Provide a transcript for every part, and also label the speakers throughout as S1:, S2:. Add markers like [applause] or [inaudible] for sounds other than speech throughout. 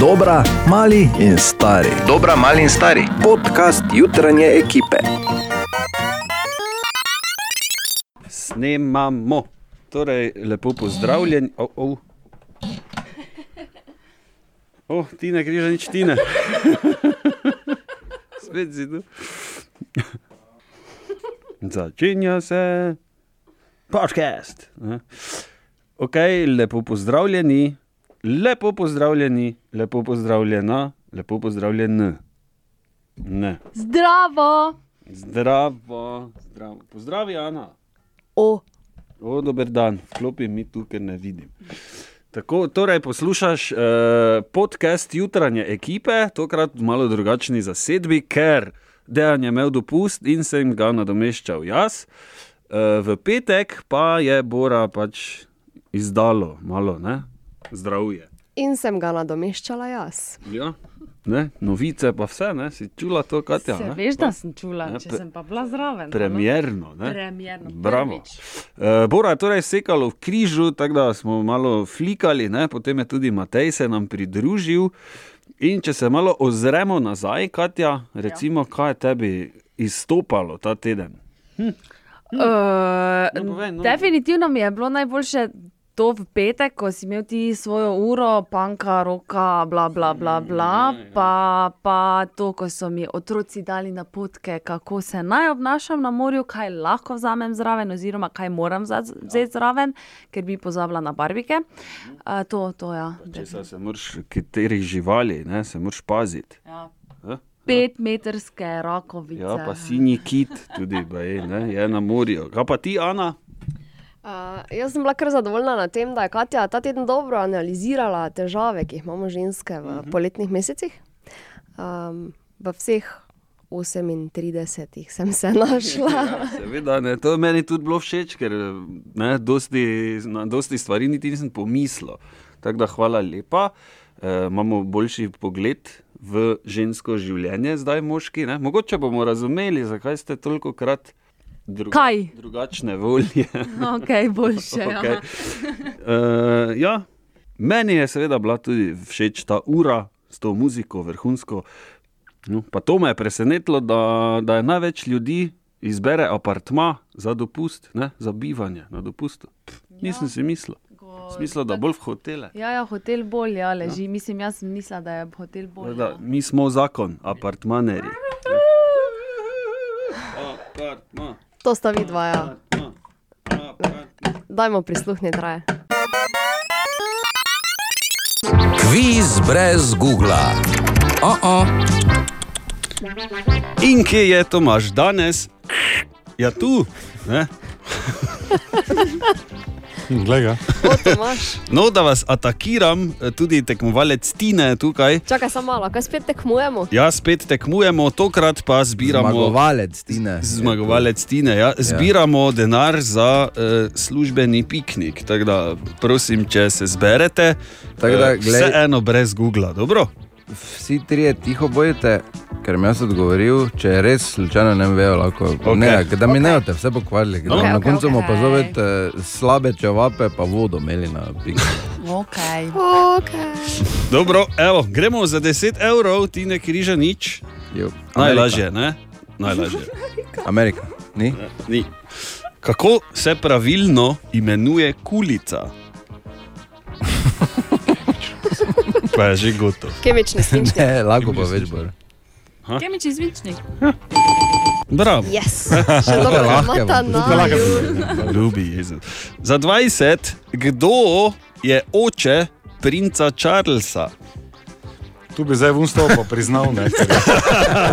S1: Dobra, mali in stari.
S2: Dobra, mali in stari.
S1: Podcast jutranje ekipe.
S3: Snemamo. Torej, lepo pozdravljen. O, o. o ti ne greš nič tine. [laughs] Spet zidu. Začenja se podcast. ne. Ok, lepo pozdravljeni, lepo pozdravljeni, lepo pozdravljena, lepo pozdravljen. Ne.
S4: Zdravo!
S3: Zdravo, zdravo. Pozdravi, Ana.
S4: O,
S3: O, dober dan, vklopi mi tu, ker ne vidim. Tako, torej poslušaš eh, podcast jutranje ekipe, tokrat v malo drugačni zasedbi, ker dejan je imel dopust in sem ga nadomeščal jaz. Eh, v petek pa je Bora pač izdalo malo ne? zdravje.
S5: In sem ga nadomeščala jaz.
S3: Ja. Ne? Novice pa vse, ne? si čula to, Katja.
S6: Se
S3: ne?
S6: veš, da sem čula,
S3: Ja,
S6: če
S3: pre-
S6: sem pa bila zraven.
S3: Premjerno. Ne?
S6: Premjerno,
S3: Bravo.
S6: prvič.
S3: Uh, Bora je torej sekalo v križu, tako da smo malo flikali, ne? potem je tudi Matej se nam pridružil. In če se malo ozremo nazaj, Katja, recimo, ja. kaj je tebi izstopalo ta teden?
S6: Uh,
S3: No, povej, no.
S6: Definitivno mi je bilo najboljše to v petek, ko si imel ti svojo uro, panka, roka, bla, bla, bla,
S3: Mm,
S6: bla.
S3: ja,
S6: Pa, pa to, ko so mi otroci dali napotke, kako se naj obnašam na morju, kaj lahko vzamem zraven, oziroma kaj moram
S3: Ja.
S6: za- vzeti zraven, ker bi pozabila na barbike. Uh, to, to ja.
S3: Mhm. Če se, se moraš, katerih živali, ne? se moraš paziti.
S6: ja.
S3: Ja.
S6: Petmetrske rokovice.
S3: Ja, pa
S6: [laughs]
S3: sinji kit tudi baje, ne? je na morju. Kaj pa ti, Ana?
S5: Uh, jaz sem bila kar zadovoljna na tem, da je Katja ta teden dobro analizirala težave, ki jih imamo ženske v uh -huh. poletnih mesecih. Um, v vseh 38 sem se [laughs] našla.
S3: Seveda, ne, to je meni tudi bilo všeč, ker ne, dosti, na dosti stvari niti nisem pomislil. Tako da hvala lepa, e, imamo boljši pogled v žensko življenje, zdaj moški. Ne? Mogoče bomo razumeli, zakaj ste toliko krat druga,
S6: Kaj?
S3: drugačne volje.
S6: Ok, [laughs]
S3: [laughs]
S6: boljše.
S3: Okay.
S6: Ja.
S3: Uh, ja. Meni je seveda bila tudi všeč ta ura s to muziko, vrhunsko. No, pa to me je presenetilo, da, da je največ ljudi izbere apartma za dopust, ne, za bivanje na dopustu. Pff, nisem si mislil. Smisel, da bolj v hotele.
S6: Ja, ja, hotel bolj ja, leži. Ja. Mislim, jaz sem mislila, da je hotel bolj.
S3: No. Da, mi smo zakon, apartmanerji. Apartma,
S5: To sta vidva, ja.
S3: apartma, apartma.
S5: Dajmo prisluhniti raje.
S1: Kviz brez Google. Oh -oh.
S3: In kje je Tomaš danes? Ja, tu. Ne?
S7: Glej ga.
S5: O, Tomaš,
S3: No, da vas atakiram, eh, tudi tekmovalec Tine je tukaj.
S5: čakaj samo malo, kaj spet tekmujemo?
S3: Ja, spet tekmujemo, tokrat pa zbiramo.
S1: Zmagovalec, Tine.
S3: Zmagovalec Tine, ja. zbiramo ja. denar za uh, službeni piknik. Tako da, prosim, če se zberete,
S8: Tako da,
S3: eh,
S8: glej-
S3: vseeno brez Google, dobro?
S8: Vsi trije tiho bojite, ker mi jaz odgovoril, če je res slučajno ne vejo, lahko.
S3: Okej.
S8: Okay. Ne, da mi okay. ne boste vse pokvarili. Okay,
S5: Okej,
S8: okay, na
S5: okej,
S8: koncu bomo okay. pa
S6: okej.
S8: zopet eh, slabe čevape, pa vodo imeli na piku.
S6: ja. Okay.
S5: Okay.
S3: Dobro, evo, gremo za 10 evrov, ti ne križa nič.
S8: Jo,
S3: Najlažje, ne? Najlažje.
S8: Amerika. Ni?
S3: Ni. Kako se pravilno imenuje kulica? [laughs] Pa je že gotovo.
S5: Kemični slinčnik.
S8: [laughs] Ne, lahko pa več bolj.
S6: Kemični izvičnik.
S3: Bravo.
S8: [laughs]
S5: Yes. Še dobro, da
S8: lahke
S5: imata
S8: bom,
S5: na
S3: Ljubi Jezus. Za 20, kdo je oče princa Charlesa?
S7: Tu bi zdaj vnstov pa priznal, ne. [laughs]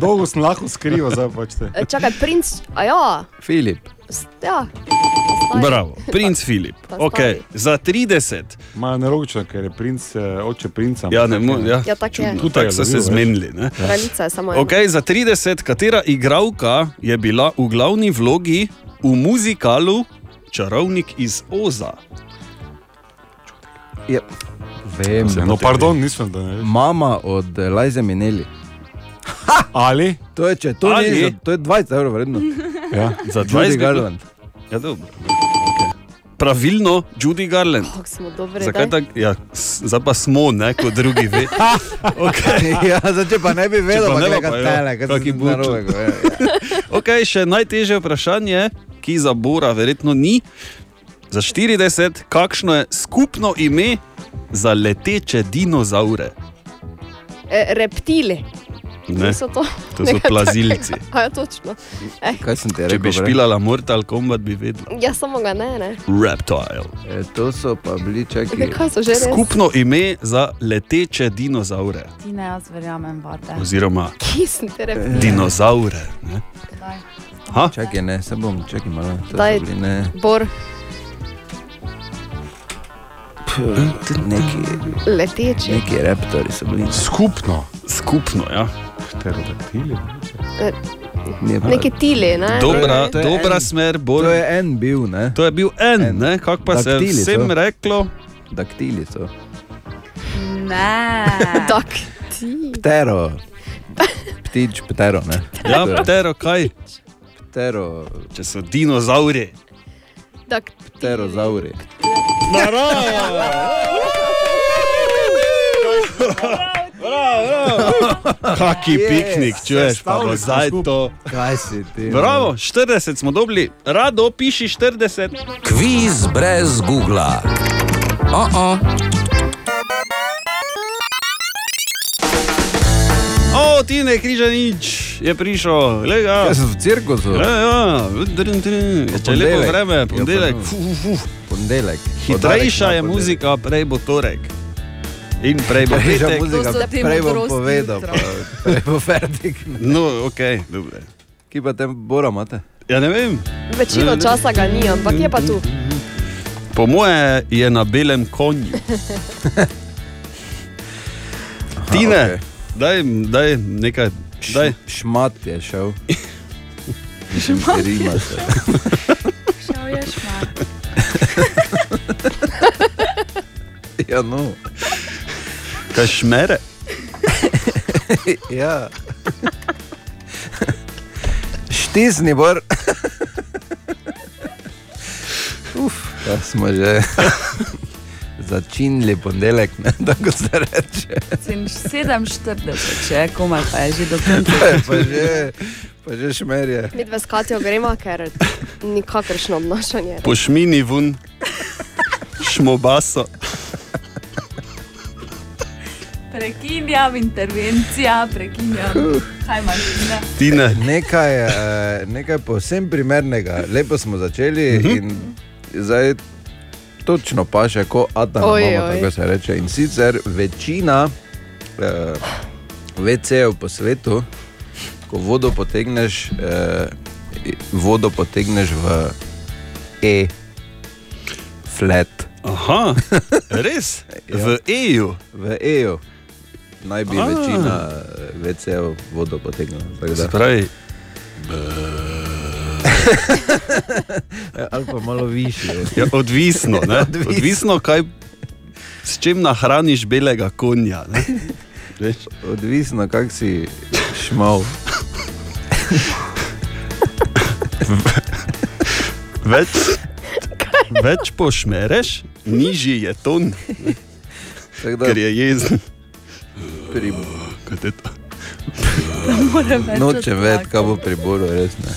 S7: Dolgo sem lahko skrival, zdaj pač te.
S5: E, Čakaj, princ, a ja,
S8: Filip.
S5: s- ja. Ostavi.
S3: Bravo, princ Filip.
S5: pa
S3: Okay.
S5: stavi.
S3: Za 30,
S7: Ma nerogično, ker je princ, eh, oče princa.
S3: ja, ne morem. Ja.
S5: Ja, tako je.
S3: Čudno, Tako so se zmenili. Ne?
S5: Kraljica je samo ena.
S3: Okay, za 30, katera igralka je bila v glavni vlogi v muzikalu Čarovnik iz Oza?
S8: Je. Vem.
S7: No, pardon, nisem, da ne veš.
S8: Mama od eh, Lajze Mineli.
S7: Ali?
S8: To je, če, to,
S3: Ali?
S8: ni, za- to je 20 evrov vredno.
S7: Ja.
S3: Za
S8: Judy
S3: 20
S8: Garland.
S3: Ja, dobro. pravilno Judy Garland.
S5: Kako smo dobri.
S3: Zakaj
S5: Torej, daj.
S3: tako? Ja, s- zdaj pa smo, ne, kot drugi ve. okay.
S8: [laughs] ja, zdaj, če pa ne bi vedel,
S3: pa
S8: pa
S3: ne bi
S8: ne bi
S3: pa, ja.
S8: tele, kaj
S3: Kaki
S8: ti bo
S3: bučo.
S8: narobe. ja,
S3: ok, še najtežje vprašanje, ki za Bora verjetno ni. Za 40, kakšno je skupno ime za leteče dinozaure?
S5: E, reptili.
S3: Ne,
S5: Niso to.
S3: to
S5: [laughs]
S3: so
S5: Nekaj
S3: plazilci.
S5: takega. A, ja, točno.
S8: Kaj sem ti
S3: Če bi
S8: rekel?
S3: špilala Mortal Kombat, bi vedela.
S5: Ja, samo ga ne, ne.
S3: Reptile.
S8: E, to so pa bili čaki.
S5: Ne, Kaj so že res?
S3: Skupno ime za leteče dinozaure,
S6: Ti ne, jaz verjamem, vate.
S3: oziroma
S5: Kje sem te reptil?
S3: dinozaure. Ne?
S8: Čakaj, ne, se bom, čakaj malo. to so
S5: Daj.
S8: bili, Ne,
S3: Eh.
S5: Bor,
S8: neki,
S5: leteči.
S8: neki reptori so bili.
S7: Skupno.
S3: Skupno, ja.
S7: Pterodaktilje.
S8: Ni pa-
S5: Neki tili, ne?
S3: Dobra,
S8: to je
S3: dobra
S8: en-
S3: smer,
S8: To
S3: bolj.
S8: je en bil, ne?
S3: To je bil en,
S8: En.
S3: ne, kako pa se je
S8: Daktili
S3: vsem
S8: so.
S3: reklo,
S8: Daktili so.
S6: Ne.
S3: [laughs]
S5: Tak.
S8: Ptero. Ptič, ptero, ne?
S3: ja,
S8: Ptero.
S3: ptero, kaj,
S8: Ptero,
S3: če so dinozauri.
S5: Tak.
S8: pterozauri.
S7: Kaki
S8: Yes,
S7: piknik, čuješ, pa bo
S8: sestavili smo
S7: zdaj to.
S8: Kaj si ti?
S3: Bravo, 40 smo dobili, rado piši 40.
S1: Kviz brez Google. O, o,
S3: O, ti ne križa nič, je prišel, le ga.
S8: Jaz sem v cirkusu,
S3: Ja, ja, drn, drn. Če je lepo
S8: ponedeljek.
S3: vreme,
S8: Ja,
S3: ponedeljek,
S8: ponovno.
S3: fu, fu, fu.
S8: ponedeljek.
S3: hitrejša
S8: Podarek
S3: je
S8: na ponedeljek.
S3: muzika, prej bo torek. In prej bo
S8: Hitrejša
S3: petek.
S8: muzika,
S6: To so te
S8: prej bom
S6: modrosti
S8: povedal,
S6: jutra.
S8: pa prej bo fertik.
S3: No, ok, dobro.
S8: Ki pa te bora, imate?
S3: Ja, ne vem.
S5: Večino časa ga ni, ampak je pa tu.
S3: Po moje je na belem konju.
S8: [laughs]
S3: Tine,
S8: okej.
S3: okay. daj, daj nekaj. Daj.
S8: Šmat je
S6: [laughs]
S8: šel. Šmat je šel.
S6: Šel je šmat.
S8: Ja, no.
S3: Kaj šmere?
S8: Ja. Štisni bor. Uf, ja smo že [laughs] začinili ponedeljek, ne, tako se reče. [laughs]
S6: 47, če je komaj, pa je že do konca.
S8: To je Pa že, pa že šmerje.
S5: Mi dve s Katijo gremo, ker [laughs] nikakršno obnašanje.
S3: Pošmini vun, šmobaso.
S6: Prekinjam intervencija, prekinjam. Kaj imaš, ne?
S3: Tine,
S8: Nekaj, eh, nekaj povsem primernega. Lepo smo začeli in zdaj točno paše, ko Adam,
S5: Oj,
S8: mama,
S5: oj.
S8: tako se reče. In sicer večina eh, VC-jev po svetu, ko vodo potegneš, eh, vodo potegneš v E, flat,
S3: aha, res, v EU.
S8: v E-ju. Naj bi
S3: Ah.
S8: večina VC-jev vodo potegnila. tako da.
S3: Spravi,
S8: Eh, Ali pa malo višje.
S3: [laughs] ja, odvisno, ne?
S8: Odvisno.
S3: odvisno, kaj, s čim nahraniš belega konja. ne? Veš?
S8: Odvisno, kak si šmal.
S3: Več, več pošmereš, nižji je ton,
S8: Tako da
S3: ker je jezen.
S8: pri,
S3: Kaj te to-
S6: Moram več
S8: nočem
S6: od
S8: vedeti, kaj
S6: tako.
S8: bo pri boru, res ne.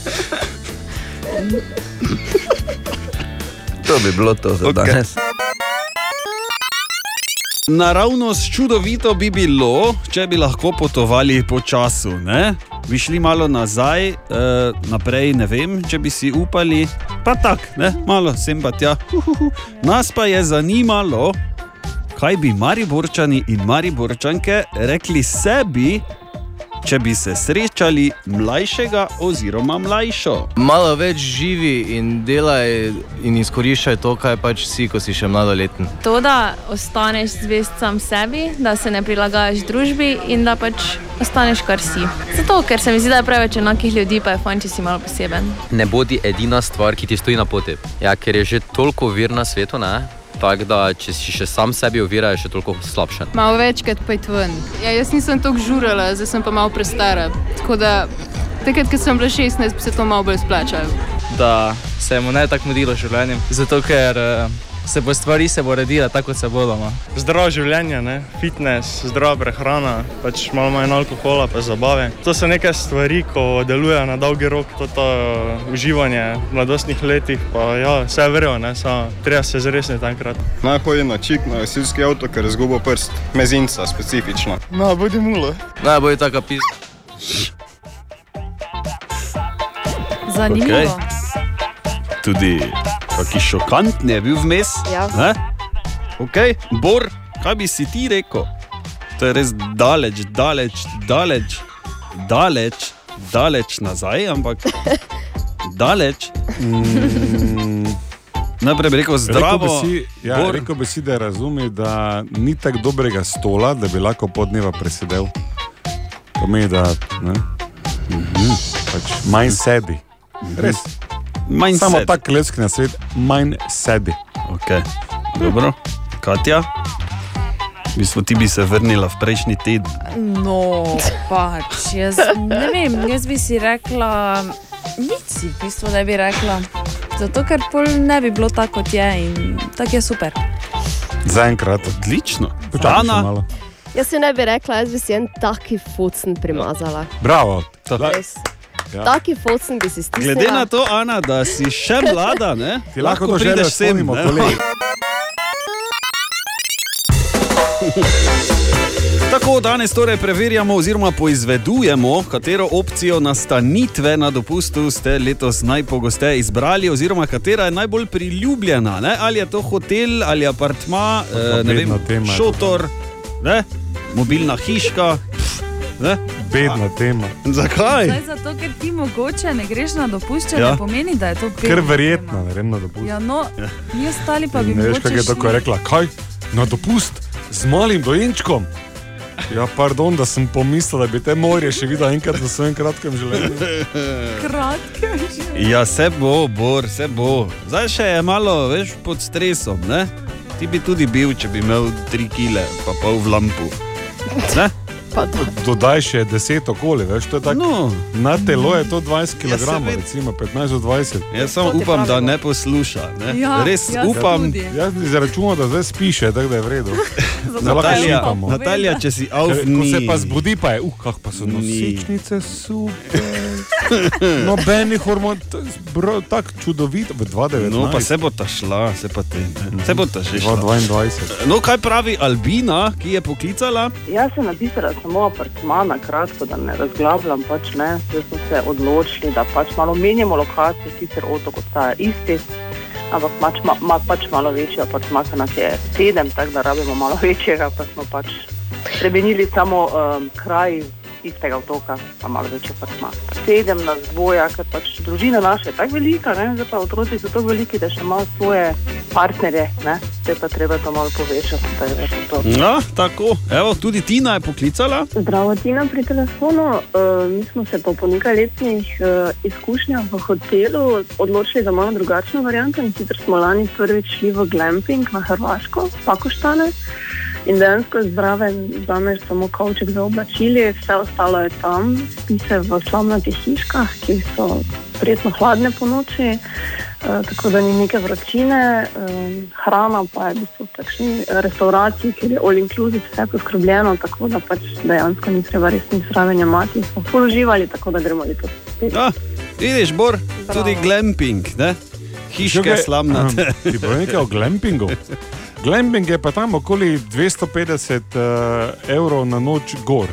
S8: To bi bilo to za
S3: Okej.
S8: okay. danes.
S3: Naravnost čudovito bi bilo, če bi lahko potovali po času. Ne? Bi šli malo nazaj, eh, naprej, ne vem, če bi si upali, pa tako, malo sem pa tja. Uhuhu. Nas pa je zanimalo, kaj bi mariborčani in mariborčanke rekli sebi, če bi se srečali mlajšega oziroma mlajšo.
S2: Malo več živi in delaj in izkoriščaj to, kar pač si, ko si še mladoleten.
S9: To, da ostaneš zvest sam sebi, da se ne prilagajaš družbi in da pač ostaneš kar si. Zato, ker se mi zdi, da je preveč enakih ljudi, pa je fajn, če si malo poseben.
S10: ne bodi edina stvar, ki ti stoji na poti. Ja, ker je že toliko vir na svetu, ne? tako da če si še sam sebi ovira, je še toliko slabše.
S11: Malo večkrat pojdi ven. Ja, jaz nisem tako žurala, zdaj sem pa malo prestara. Tako da takrat, ko sem bila 16, bi se to malo bolj splačalo.
S12: da se mu ne bi tako mudilo z življenjem. Zato, ker eh, se bo stvari se bo redile tako, kot se bodo. No.
S13: Zdravo življenje, ne? fitness, zdrava prehrana, pač malo manj alkohola, pa zabave. To so neke stvari, ko deluje na dolgi rok, to to uživanje v mladostnih letih, pa ja, vse verjo, ne, samo treba se zresniti enkrat.
S14: Naj hodim na čik na gasilski avto, ker izgubo prst, mezinca specifično.
S13: No, bodi mulo.
S2: Naj bo je taka pisa.
S6: Zanimivo.
S3: Okej. Tudi kaki šokantni je bil vmes.
S5: Ja.
S3: ne? Okay. Bor, kaj bi si ti rekel? To je res daleč, daleč, daleč, daleč, daleč nazaj, ampak daleč. Mm, najprej bi rekel zdravo.
S7: Zdravo, rekel bi si, ja,
S3: Bor.
S7: rekel bi si, da razume, da ni tako dobrega stola, da bi lahko pol dneva presedel. Pomeni, da ne, mhm. pač manj sedi. Res.
S3: Manj
S7: Samo
S3: sedi.
S7: tako leski na svet, manj sedi.
S3: Okay. Dobro, Katja. V bistvu ti bi se vrnila v prejšnji teden.
S6: No, pač jaz ne vem, jaz bi si rekla, nič si v bistvu ne bi rekla. Zato, ker pol ne bi bilo tako, kot je in tako je super.
S7: Zaenkrat.
S3: Odlično.
S7: Počakaj še malo.
S5: Jaz si ne bi rekla, jaz bi si en taki focen primazala.
S7: Bravo.
S5: Res. Taki focen bi si
S3: Ja.
S5: stisnila.
S3: Glede na to, Ana, da si še mlada, ne?
S7: Ti lahko to
S3: prideš
S7: želiš,
S3: sem,
S7: spomnimo,
S3: ne?
S7: kolegi.
S3: Tako danes torej preverjamo oziroma poizvedujemo, katero opcijo nastanitve na dopustu ste letos najpogosteje izbrali oziroma katera je najbolj priljubljena. Ne? Ali je to hotel ali apartma, eh, ne vem,
S7: bedna tema je to.
S3: šotor, ne? mobilna hiška. pf, Ne?
S7: Bedna tema.
S3: Zakaj?
S6: Zdaj, zato, ker ti mogoče ne greš na dopuščanje,
S7: Ja.
S6: ja. pomeni, da je to
S7: Ker
S6: pet.
S7: verjetno, ne vem, na dopust.
S6: Ja, no, mi ostali pa bi
S7: Ne veš,
S6: mogoče
S7: kaj je tako
S6: šli.
S7: rekla. Kaj? Na dopust z malim dojenčkom. Ja, pardon, da sem pomislila, da bi te morje še videla enkrat na svojem kratkem življenju.
S6: Kratke že.
S3: Ja, se bo, bor, se bo. Zdaj še je malo več pod stresom. Ne? Ti bi tudi bil, če bi imel tri kile, pa pol v lampu. Ne?
S7: Dodaj še 10 okoli, veš, to je tako.
S3: No.
S7: Na telo je to 20
S3: Ja,
S7: kg,
S3: seveda.
S7: recimo 15 do 20.
S3: Jaz samo To ti upam, da pravimo. ne posluša. ne. Ja, Res jaz upam. tudi.
S7: Jaz izračunam, da zdaj spiše, tako da je v redu. Zdaj lahko
S3: Natalija,
S7: šipamo.
S3: Natalija, če si avf,
S7: Ker Ko se
S3: ni.
S7: pa zbudi, pa je, uh, kak pa so
S3: Ni.
S7: nosečnice, super. [laughs] Nobenih hormonov, tako čudovito, v 2,9.
S3: No, pa se bo ta šla, se pa te. ne.
S7: Mhm.
S3: Se bo ta že šla.
S7: 22.
S3: No, kaj pravi Albina, ki je poklicala?
S15: Jaz sem napisala samo apartma na kratko, da ne razglabljam, pač ne. Zdaj smo se odločili, da pač malo menjamo lokacijo, sicer otok ostaja isti, ampak pač, ma, ma, pač malo večji apartma, ker nas je sedem, tako da rabimo malo [laughs] večjega, pa smo pač spremenili samo um, kraj
S6: Ja,
S15: istega otoka, pa malo večji apartma. Sedem nas dvoja, ker pač družina naša je tako velika, ne, zdaj pa otroci so tako veliki, da še imajo svoje partnerje, ne, zdaj pa treba to malo povečati, tako da je to.
S3: No, tako. Evo, tudi Tina je poklicala.
S16: Zdravo, Tina pri telefonu. Uh, mi smo se po, po nekaj letnih uh, izkušnjah v hotelu odločili za malo drugačno varianto. In sicer smo lani prvič šli v glamping na Hrvaško, Pakoštane. In dejansko je zraven, vzameš samo kavček za oblačili, vse ostalo je tam, spi se v slamnatih hiškah, ki so prijetno hladne po noči, eh, tako da ni neke vročine. Eh, hrana pa je v bistvu v takšni restauraciji, kjer je all inclusive vse poskrbljeno, tako da pač dejansko ni treba resnih zraven imati. Smo ful uživali, tako da gremo letos.
S3: Ja, vidiš, Bor, tudi glamping, ne? hiške slamnate.
S7: Ti bo nekaj o glampingu. Glamping je pa tam okoli 250 uh, evrov na noč gor.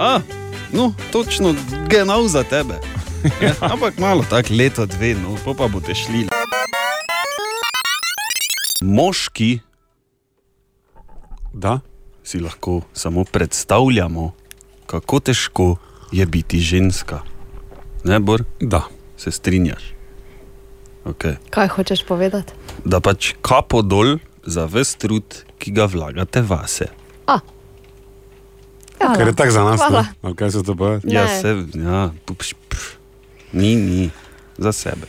S3: A, no, točno, genau za tebe.
S7: [laughs]
S3: Ja, ampak malo tako leto, dve, no, pol pa boste šli. Moški,
S7: da
S3: si lahko samo predstavljamo, kako težko je biti ženska. Ne, Bor?
S7: Da.
S3: Se strinjaš. Okay.
S5: Kaj hočeš povedati?
S3: Da pač kapo dol za vse trud, ki ga vlagate vase.
S5: Hvala.
S7: Ker je tako za nas,
S5: Hvala.
S7: ne? No, kaj se to boje.
S3: Ja, se, ja, pš, pš, ni, ni, za sebe.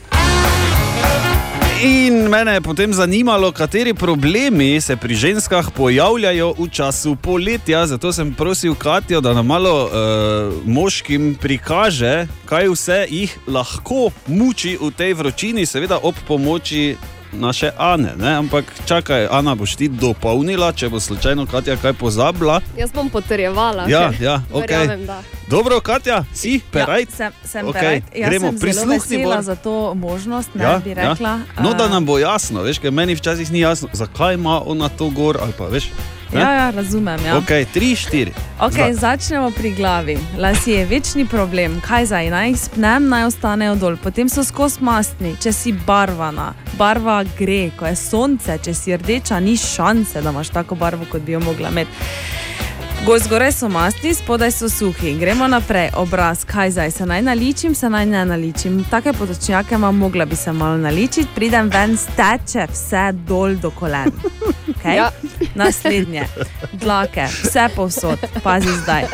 S3: In mene je potem zanimalo, kateri problemi se pri ženskah pojavljajo v času poletja. Zato sem prosil Katijo, da nam malo uh, moškim prikaže, kaj vse jih lahko muči v tej vročini, seveda ob pomoči naše Ane. Ne? Ampak čakaj, Ana boš ti dopolnila, če bo slučajno Katja kaj pozabila.
S5: Jaz bom potrjevala.
S3: Ja,
S5: še.
S3: ja, ok.
S5: Verjamem, da.
S3: Dobro, Katja, si perajt.
S6: Ja, sem sem
S3: Okej,
S6: okay, perajt. Jaz
S3: gremo,
S6: sem zelo
S3: prisluhni
S6: vesela
S3: bolj.
S6: za to možnost, ne ja, bi rekla.
S3: Ja. No, da nam bo jasno, veš, ker meni včasih ni jasno, zakaj ima ona to gor ali pa veš.
S6: Eh, ja, ja, razumem. Ja.
S3: Ok, tri, štiri.
S6: Okay,
S3: Zdaj.
S6: začnemo pri glavi. Lasje je večni problem, kaj zdaj, naj jih spnem, naj ostanejo dol. Potem so skos mastni, če si barvana, barva gre, ko je sonce, če si rdeča, ni šanse, da imaš tako barvo, kot bi jo mogla imeti. Gor zgoraj so mastni, spodaj so suhi. Gremo naprej, obraz, kaj zdaj, se naj naličim, se naj ne naličim. Take potočnjake imam, mogla bi se malo naličiti, pridem ven, steče vse dol do kolen. Okay? Ja. Naslednje, dlake, vse povsod, pazi zdaj.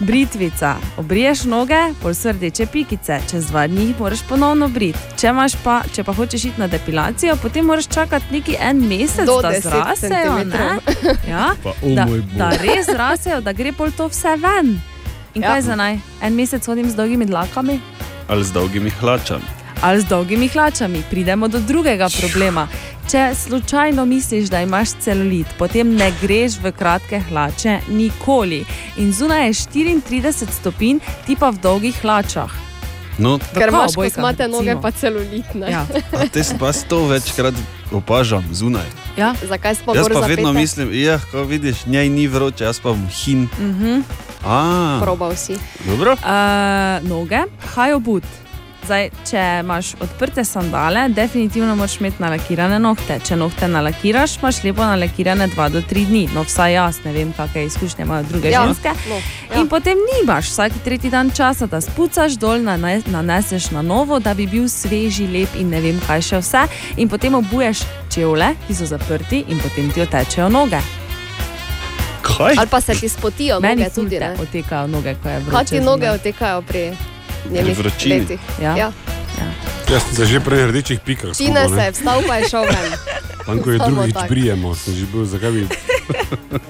S6: Britvica, obriješ noge, pol so rdeče pikice, čez dva dni jih moraš ponovno briti. Če, imaš pa, če pa hočeš iti na depilacijo, potem moraš čakati neki en mesec,
S5: Do
S6: da
S5: 10
S6: zrasejo. ne? Ja?
S7: Pa, o
S6: da,
S7: moj bog.
S6: da res zrasejo, da gre pol to vse ven. In
S3: Ja.
S6: kaj za naj? En mesec hodim z dolgimi dlakami
S3: Ali z dolgimi hlačami.
S6: ali z dolgimi hlačami. Pridemo do drugega problema. Če slučajno misliš, da imaš celulit, potem ne greš v kratke hlače nikoli. In zunaj je 34 stopinj, ti pa v dolgih hlačah.
S3: No,
S5: Ker
S6: Tako,
S5: imaš, ko
S6: obojka,
S5: imate
S6: recimo.
S5: noge, pa celulitne.
S6: Ja.
S3: a te s- pa to večkrat opažam zunaj.
S5: Ja. Zakaj smo
S3: jaz
S5: bolj
S3: pa
S5: zapete?
S3: vedno mislim, ja, ko vidiš, njej ni vroče, jaz pa bom hin.
S6: Mhm.
S3: A,
S5: Probal si.
S3: Dobro?
S6: Uh, noge, haj obut. Zdaj, če imaš odprte sandale, definitivno moraš imeti nalakirane nohte. Če nohte nalakiraš, imaš lepo nalakirane 2 do 3 dni. No, vsaj jaz ne vem, kakšne izkušnje imajo druge
S5: Ja,
S6: ženske.
S5: no,
S6: ja. In potem nimaš vsak tretji dan časa, da spucaš dol, nane- naneseš na novo, da bi bil sveži, lep in ne vem kaj še vse. In potem obuješ čevlje, ki so zaprti in potem ti otečejo noge.
S3: Kaj?
S5: Ali pa se ti spotijo
S6: Meni
S5: noge tudi.
S6: ful
S5: ne?
S6: te Otekajo noge, ko je vroče.
S5: Kaj ti
S6: zunaj.
S5: noge otekajo pri njenih
S7: vročini.
S5: letih?
S6: Ja.
S5: Ja.
S7: Jaz sem se že pri rdečih pikah.
S5: Tine
S7: skubal,
S5: se
S7: ne.
S5: je vstal, pa je šel
S6: [laughs]
S5: ven.
S7: Tam, ko je
S5: Samo
S7: drugič
S5: tako.
S7: brijemo, sem že bil, zakaj
S5: [laughs]
S7: bi.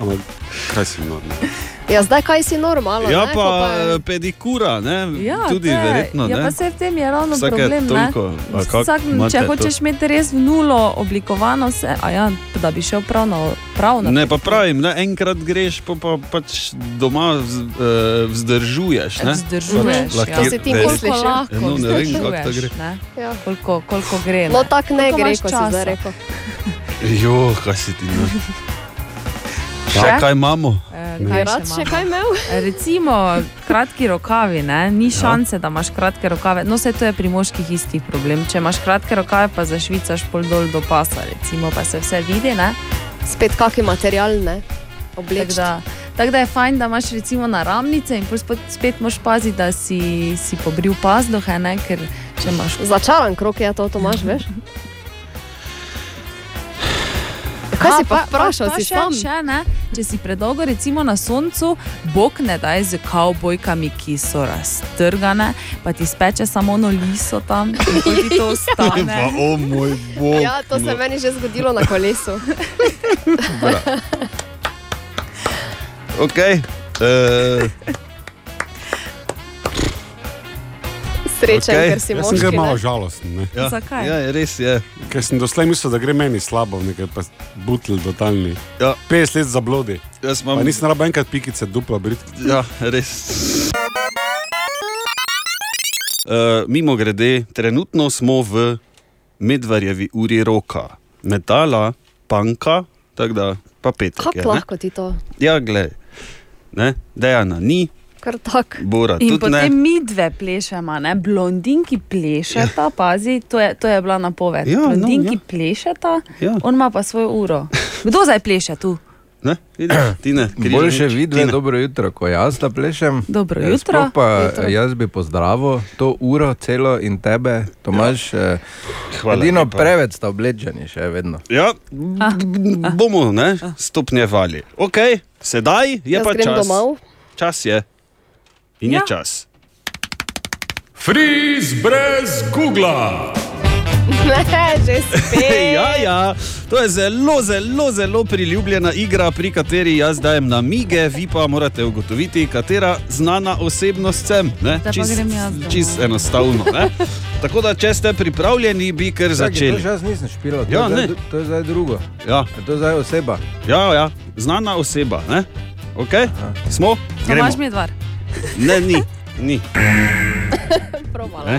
S7: Ampak, kaj si normal?
S5: Ja, zdaj kaj si normalno?
S3: Ja,
S5: ne? Ko
S3: pa
S5: je-
S3: eh, pedikura, ne?
S6: Ja,
S3: tudi
S6: to je-
S3: verjetno.
S6: Ja,
S3: ne?
S6: pa se v tem je ravno
S3: Vsake
S6: problem. ne.
S3: toliko, ali kako
S6: Vsak,
S3: imate
S6: če
S3: to?
S6: hočeš imeti res v nulo oblikovano, vse, a ja, da bi šel prav na prav. na-
S3: Ne, pa pravim, ne, enkrat greš, pa, pa pač doma vz, eh, vzdržuješ. Ne?
S6: Vzdržuješ,
S3: pač,
S6: ja. To si ti
S3: verjetno.
S6: misliš, ja. Lahko
S3: No, ne vem, kako to gre.
S6: vzdržuješ, Koliko, koliko gre?
S5: Ja. No, tako ne
S6: Koliko
S5: gre,
S6: imaš
S5: kot si
S6: časa?
S5: zdaj rekel.
S3: Jo, kaj si ti ne?
S6: Še?
S3: Še kaj imamo?
S6: Eh,
S3: Ne.
S6: kaj E,
S5: Rad še kaj imel?
S6: Recimo, kratki rokavi, ne? ni
S3: Ja.
S6: šanse, da imaš kratke rokave. No, vse to je pri moških isti problem. Če imaš kratke rokave, pa zašvicaš pol dol do pasa, recimo, pa se vse vidi. Ne?
S5: Spet kaki material, ne?
S6: Tako da, tak da je fajn, da imaš recimo naramnice in pol spet, spet moraš paziti, da si, si pobril pazduhe, ne? ker če imaš
S5: Začaran krok je to, Tomaš, veš? Kaj si pa vprašal, si
S6: še,
S5: sam?
S6: Še, ne? Če si predolgo recimo na soncu, bog ne daj z kavbojkami, ki so raztrgane, pa ti speče samo ono liso tam in pol ti to
S3: [laughs]
S7: Pa,
S6: ostane.
S7: o moj bog.
S5: Ja, to se
S7: no.
S5: meni že zgodilo na kolesu. [laughs]
S3: Ok. Uh,
S5: Srečen, ker si
S7: Jaz sem
S5: moški.
S7: kar malo
S5: ne?
S7: žalosten. Ne?
S5: Ja. Zakaj? Ja,
S3: res je.
S7: Ker sem doslej mislil, da gre meni slabo, nekaj pa butl totalni.
S3: Ja.
S7: 50 let zablodi.
S3: Jaz
S7: Mam... Nisem rabo enkrat pikice, dupla brit.
S3: Ja, res. Uh, mimo grede, trenutno smo v Medvarjevi uri roka, metala, panka, tako da pa pet.
S5: Kako lahko ti to?
S3: Ja, gled, dejana ni,
S5: Kar tak.
S3: Bora
S6: In
S3: tudi ne.
S6: potem mi dve plešemo, ne? blondinki plešeta, pazi, to je, to je bila napoved.
S3: Ja, no,
S6: blondinki no, ja. plešeta,
S3: ja.
S6: on ima pa svojo uro. Kdo zdaj pleše tu?
S3: Ne, vidiš, ti ne.
S8: Boljše vidve, dobro jutro, ko jaz da plešem.
S6: Dobro
S3: Ja,
S8: Eh,
S6: jutro.
S8: sploh Pa,
S6: Jutro.
S8: jutro. Jaz bi pozdravil to uro celo in tebe, Tomaž. Ja.
S3: Hvala
S8: Edino
S3: lepa.
S8: preveč sta oblečeni, še vedno.
S3: Ja,
S6: Ah.
S3: bomo ne, stopnjevali. Ok, sedaj je
S5: Jaz
S3: pa
S5: grem
S3: čas.
S5: domov. [laughs]
S3: Čas je. In ja. je čas.
S17: Friz brez Google.
S5: Ne, že spet.
S3: Ja, ja, to je zelo, zelo, zelo priljubljena igra, pri kateri jaz dajem namige, vi pa morate ugotoviti, katera znana osebnost sem. ne.
S6: Zdaj pa
S3: Čist-
S6: grem jaz domov.
S3: Čist enostavno. Ne? Tako da, če ste pripravljeni, bi
S8: Čakaj,
S3: kar
S8: to
S3: začeli.
S8: še jaz nisem špilal, to,
S3: Ja,
S8: ja, zdaj,
S3: ne.
S8: to je zdaj drugo.
S3: Ja.
S8: To je zdaj oseba.
S3: Ja, ja, znana oseba. Ne? Okay? Smo? Gremo.
S6: Tomaš mi dvar.
S3: Ne, ni, ni.
S5: [laughs]
S3: Ne?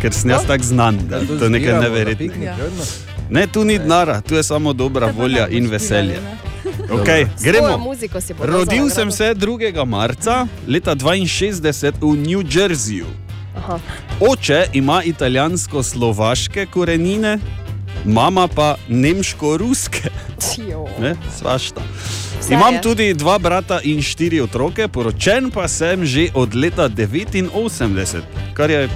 S3: Ker sem
S5: No?
S3: jaz tako znan, da je to
S8: Ja,
S3: nekaj
S8: zbiramo na
S3: neverjetnega.
S6: Ja.
S8: piknik, vedno.
S3: Ne, tu ni denara, tu je samo dobra volja in veselje. Okay,
S5: S svojo
S3: gremo.
S5: muziko si bo dal
S3: Rodil
S5: za
S3: sem se 2. marca leta 62 v New Jerseyju.
S5: Aha.
S3: Oče ima italijansko-slovaške korenine, mama pa nemško-ruske.
S5: nagrado.
S3: Ne, svašta.
S5: Vse
S3: Imam
S5: je.
S3: tudi dva brata in štiri otroke, poročen pa sem že od leta 89, kar je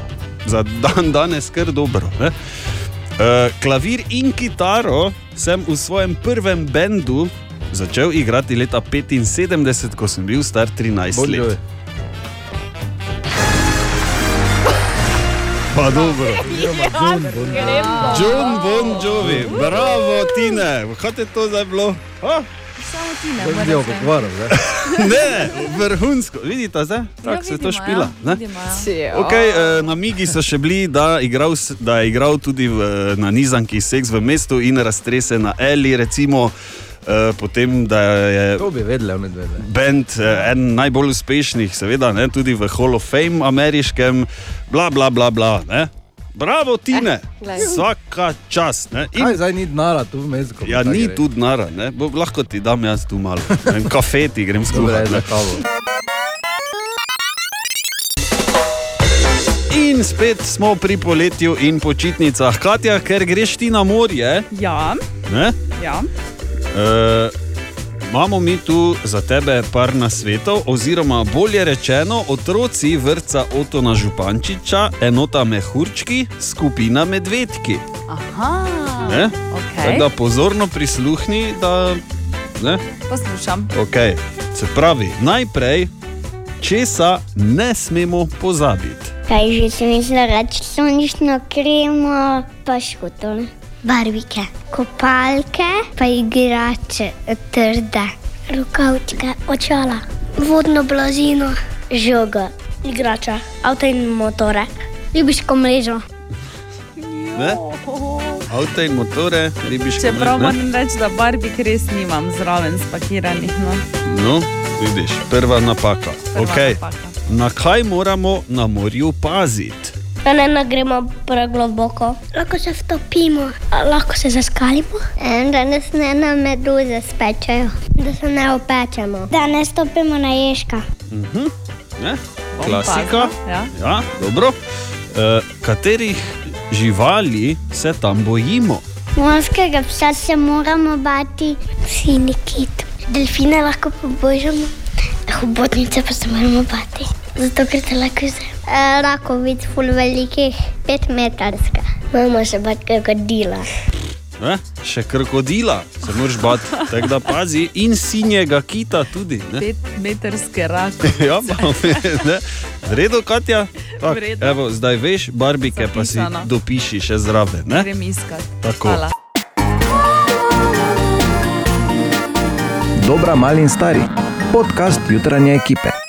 S3: za dan danes kar dobro. Ne? E, Klavir in kitaro sem v svojem prvem bendu začel igrati leta 75, ko sem bil star 13
S8: Bon Jovi.
S3: let. Pa
S5: [laughs]
S3: dobro.
S5: Ja,
S3: John Bon Jovi, bravo, Tine, kaj te to zdaj bilo? Ah.
S6: Samo ti ne
S3: Dobro,
S6: moreš.
S3: del pokvaril, ne, vrhunsko, vidite, zdaj? Tako
S5: Ja,
S3: se to špila. ne? Okay, eh, na Migi so še bili, da, igral, s- da je igral tudi v, na nizanki Seks v mestu in raztrese na Eli, recimo. eh, Potem, da je
S8: To bi vedela, ne vedela.
S3: bend eh, en najbolj uspešnih, seveda, ne, tudi v Hall of Fame ameriškem, bla, bla, bla. bla ne. Bravo, Tine,
S8: Eh, glej.
S3: vsaka čast. Ne. In
S8: Kaj zdaj ni denara tu vmes? ko
S3: Ja,
S8: tako
S3: ni
S8: gre?
S3: tudi nara, ne? Bo, lahko ti dam jaz tu malo. Ne vem, Kafe ti grem
S8: Dobre,
S3: skuhati.
S8: za
S3: ne.
S8: kavo.
S3: In spet smo pri poletju in počitnicah. Katja, ker greš ti na morje,
S17: Ja,
S3: ne?
S17: ja.
S3: E, imamo mi tu za tebe par nasvetov, oziroma bolje rečeno, otroci vrca Otona Župančiča, enota Mehurčki, skupina Medvedki.
S6: Aha,
S3: Ne? Tako da
S6: ok.
S3: pozorno prisluhni, da ne.
S6: Poslušam.
S3: Okay. Se pravi, najprej, česa ne smemo pozabiti.
S18: Kaj že sem mislila reči, sončno kremo, pa škotole, barvike, kopalke, pa igrače trde, rokavčke, očala, vodno blazino, žogo, igrača, avto in motore, ribiško mrežo.
S3: Ne? Avto in motore, ribiške
S17: Čeprav
S3: mreže,
S17: moram reči, da barbik res nimam zraven spakiranih. No.
S3: No, vidiš, prva napaka.
S17: Prva
S3: okay.
S17: napaka.
S3: Na kaj moramo na morju paziti?
S18: Da ne, ne gremo pregloboko. Lahko se vtopimo, a lahko se zaskalimo. Da nas ne na meduze spečejo, da se ne opečemo. Da ne stopimo na ježka.
S3: Mhm, ne?
S18: Bom
S3: Klasika.
S18: pazila, ja.
S3: Ja, dobro. E, katerih živali se tam bojimo?
S18: Morskega psa se moramo bati, sini kit. Delfine lahko pobožamo, hobotnice pa se moramo bati. Zato, ker te lahko zre. E, rakovic, ful velikih, pet metrska. Moramo se bati krokodila.
S3: Ne? Še krokodila se moraš bati, tako da pazi, in sinjega kita tudi. Ne?
S17: Petmetrske rake.
S3: [laughs] Ja, imamo, ne. v redu, Katja. Tak,
S17: V redu.
S3: evo, zdaj veš, barbike pa si
S17: Zapisano.
S3: dopiši še zraven. ne?
S17: Grem iskat.
S3: Tako.
S17: Hvala.
S19: Dobra, mali in stari. Podcast jutranje ekipe.